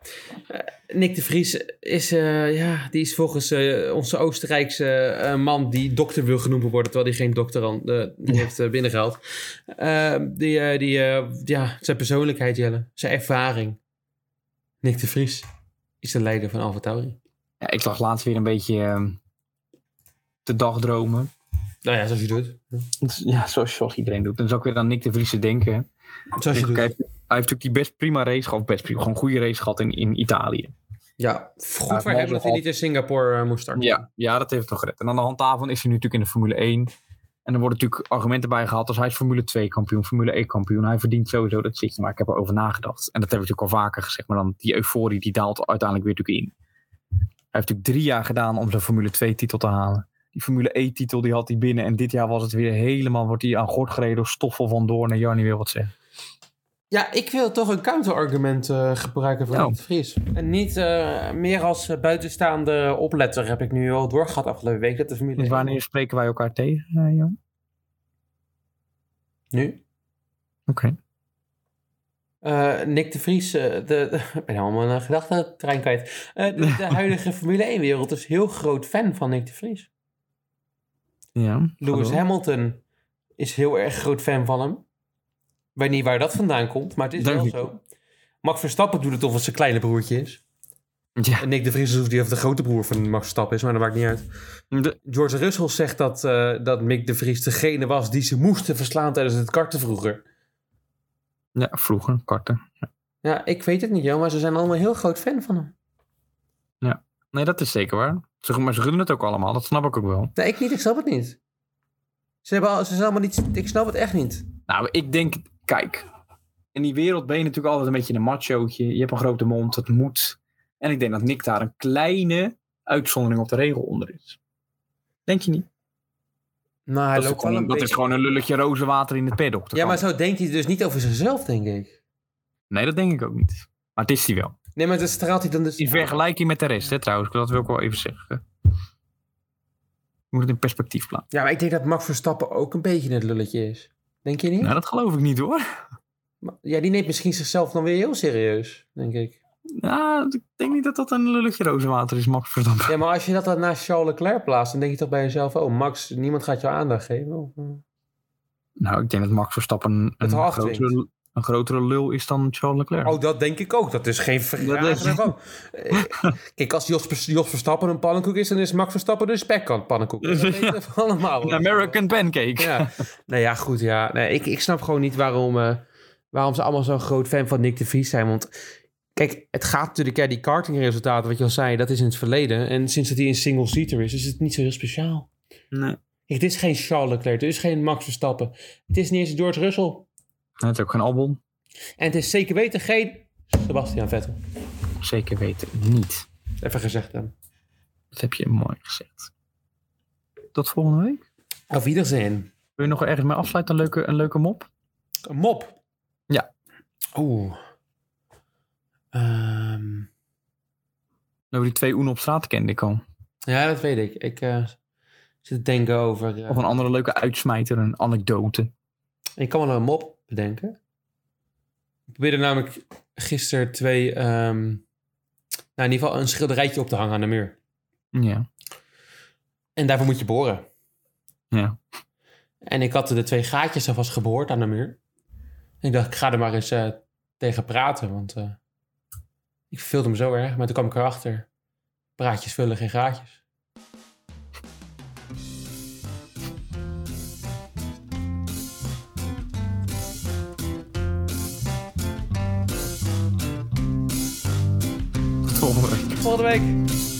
[SPEAKER 2] eh, Nick de Vries is, eh, ja, die is volgens eh, onze Oostenrijkse eh, man die dokter wil genoemd worden, terwijl hij geen dokter aan, eh, heeft eh, binnengehaald. Eh, die, eh, die, eh, ja, zijn persoonlijkheid, Jelle, zijn ervaring. Nick de Vries is de leider van Alfa Tauri.
[SPEAKER 3] Ja, ik lag laatst weer een beetje ehm, te dagdromen.
[SPEAKER 2] Nou ja, zoals je doet.
[SPEAKER 3] Ja, zoals, zoals iedereen doet. Dan zou ik weer aan Nick de Vries denken.
[SPEAKER 2] Zoals je
[SPEAKER 3] Kijk, hij
[SPEAKER 2] doet.
[SPEAKER 3] heeft natuurlijk die best prima race gehad. Of best prima, gewoon een goede race gehad in, in Italië.
[SPEAKER 2] Ja, goed voor
[SPEAKER 3] maar
[SPEAKER 2] hem dat hij
[SPEAKER 3] al-
[SPEAKER 2] niet in Singapore eh, moest starten.
[SPEAKER 3] Ja, ja, dat heeft het nog gered. En aan de hand daarvan is hij nu natuurlijk in de Formule 1. En er worden natuurlijk argumenten bij gehaald als hij is Formule 2 kampioen, Formule 1 kampioen. Hij verdient sowieso dat zitje, maar ik heb erover nagedacht. En dat hebben we natuurlijk al vaker gezegd, maar dan die euforie die daalt uiteindelijk weer natuurlijk in. Hij heeft natuurlijk drie jaar gedaan om zijn Formule 2 titel te halen. Die Formule 1 titel die had hij binnen en dit jaar was het weer helemaal, wordt hij aan gort gereden door Stoffel van Doorn en Jarni wil wat zeggen.
[SPEAKER 2] Ja, ik wil toch een counterargument eh, gebruiken van
[SPEAKER 3] Nou.
[SPEAKER 2] Nick de Vries. En niet eh, meer als eh, buitenstaande opletter heb ik nu al doorgehad afgelopen week. Dat de familie.
[SPEAKER 3] Dus wanneer spreken wij elkaar tegen, eh, Jan?
[SPEAKER 2] Nu?
[SPEAKER 3] Oké.
[SPEAKER 2] Eh, Nick de Vries, eh, de, de- [laughs] ik ben helemaal mijn gedachten trein kwijt. Eh, de,
[SPEAKER 3] [laughs]
[SPEAKER 2] de huidige Formule 1-wereld is heel groot fan van Nick de Vries.
[SPEAKER 3] Ja.
[SPEAKER 2] Lewis
[SPEAKER 3] hallo.
[SPEAKER 2] Hamilton is heel erg groot fan van hem. Ik weet niet waar dat vandaan komt, maar het is
[SPEAKER 3] Dank
[SPEAKER 2] wel
[SPEAKER 3] u.
[SPEAKER 2] zo. Max Verstappen doet het of het zijn kleine broertje is.
[SPEAKER 3] Ja.
[SPEAKER 2] En Nick de Vries doet die of de grote broer van Max Verstappen is, maar dat maakt niet uit.
[SPEAKER 3] De-
[SPEAKER 2] George Russell zegt dat, eh, dat Mick de Vries degene was die ze moesten verslaan tijdens het karten vroeger.
[SPEAKER 3] ja, vroeger, karten.
[SPEAKER 2] Ja, ik weet het niet, joh, maar ze zijn allemaal heel groot fan van hem.
[SPEAKER 3] Nee, dat is zeker waar. Ze, maar ze gunnen het ook allemaal, dat snap ik ook wel.
[SPEAKER 2] Nee, ik niet, ik snap het niet. Ze, hebben al, ze zijn allemaal niet, ik snap het echt niet.
[SPEAKER 3] Nou, ik denk, kijk. In die wereld ben je natuurlijk altijd een beetje een machootje. Je hebt een grote mond, dat moet. En ik denk dat Nick daar een kleine uitzondering op de regel onder is. Denk je niet?
[SPEAKER 2] Nou, hij
[SPEAKER 3] dat is,
[SPEAKER 2] loopt wel
[SPEAKER 3] gewoon,
[SPEAKER 2] een
[SPEAKER 3] dat
[SPEAKER 2] beetje...
[SPEAKER 3] is gewoon een lulletje rozenwater in het paddock. Dat
[SPEAKER 2] Ja,
[SPEAKER 3] kan.
[SPEAKER 2] maar zo denkt hij dus niet over zichzelf, denk ik.
[SPEAKER 3] Nee, dat denk ik ook niet. Maar het is die wel.
[SPEAKER 2] Nee, maar dat straalt hij dan dus...
[SPEAKER 3] In vergelijking met de rest, hè, trouwens. Dat wil ik wel even zeggen. Je moet het in perspectief plaatsen.
[SPEAKER 2] Ja, maar ik denk dat Max Verstappen ook een beetje het lulletje is. Denk je niet?
[SPEAKER 3] Nou, dat geloof ik niet hoor.
[SPEAKER 2] Maar- Ja, die neemt misschien zichzelf dan weer heel serieus, denk ik.
[SPEAKER 3] Nou, ik denk niet dat dat een lulletje rozenwater is, Max Verstappen.
[SPEAKER 2] Ja, maar als je dat dan naast Charles Leclerc plaatst, dan denk je toch bij jezelf: oh, Max, niemand gaat jou aandacht geven. Of, eh,
[SPEAKER 3] Nou, ik denk dat Max Verstappen een,
[SPEAKER 2] Het wel afdwingt.
[SPEAKER 3] grotere, een grotere lul is dan Charles Leclerc.
[SPEAKER 2] Oh, dat denk ik ook. Dat is geen vraag.
[SPEAKER 3] Dat is-
[SPEAKER 2] ervan. Eh, Kijk, als Jos, Vers- Jos Verstappen een pannenkoek is, dan is Max Verstappen dus spekkant pannenkoek. Dat weten
[SPEAKER 3] [laughs]
[SPEAKER 2] we allemaal.
[SPEAKER 3] een
[SPEAKER 2] wel.
[SPEAKER 3] American pancake.
[SPEAKER 2] oh. Ja. Nou ja, goed. Ja. Nee, ik, ik snap gewoon niet waarom, eh, waarom ze allemaal zo'n groot fan van Nick de Vries zijn. Want kijk, het gaat natuurlijk... Ja, die kartingresultaten, wat je al zei, dat is in het verleden. En sinds dat hij een single-seater is, is het niet zo heel speciaal.
[SPEAKER 3] Nee.
[SPEAKER 2] Kijk, dit is geen Charles Leclerc. Dit is geen Max Verstappen. Het is niet eens George Russell.
[SPEAKER 3] Het is ook geen album.
[SPEAKER 2] En het is zeker weten geen Sebastian Vettel.
[SPEAKER 3] Zeker weten niet.
[SPEAKER 2] Even gezegd dan.
[SPEAKER 3] Dat heb je mooi gezegd. Tot volgende week.
[SPEAKER 2] Auf Wiedersehen.
[SPEAKER 3] Wil je nog ergens mee afsluiten? Een leuke, een leuke mop?
[SPEAKER 2] Een mop.
[SPEAKER 3] Ja.
[SPEAKER 2] Oeh. Ehm,
[SPEAKER 3] Nou, die twee Oen op straat kende ik al.
[SPEAKER 2] ja, dat weet ik. Ik eh, zit te denken over... eh,
[SPEAKER 3] Of een andere leuke uitsmijter, een anekdote.
[SPEAKER 2] Ik kan wel een mop bedenken. Ik probeerde namelijk gisteren twee... ehm, nou, in ieder geval een schilderijtje op te hangen aan de muur.
[SPEAKER 3] Ja.
[SPEAKER 2] En daarvoor moet je boren.
[SPEAKER 3] Ja.
[SPEAKER 2] En ik had de twee gaatjes alvast geboord aan de muur. En ik dacht, ik ga er maar eens eh, tegen praten, want eh, ik verveelde me zo erg. Maar toen kwam ik erachter, praatjes vullen geen gaatjes.
[SPEAKER 3] Tot volgende week.
[SPEAKER 2] Volgende week!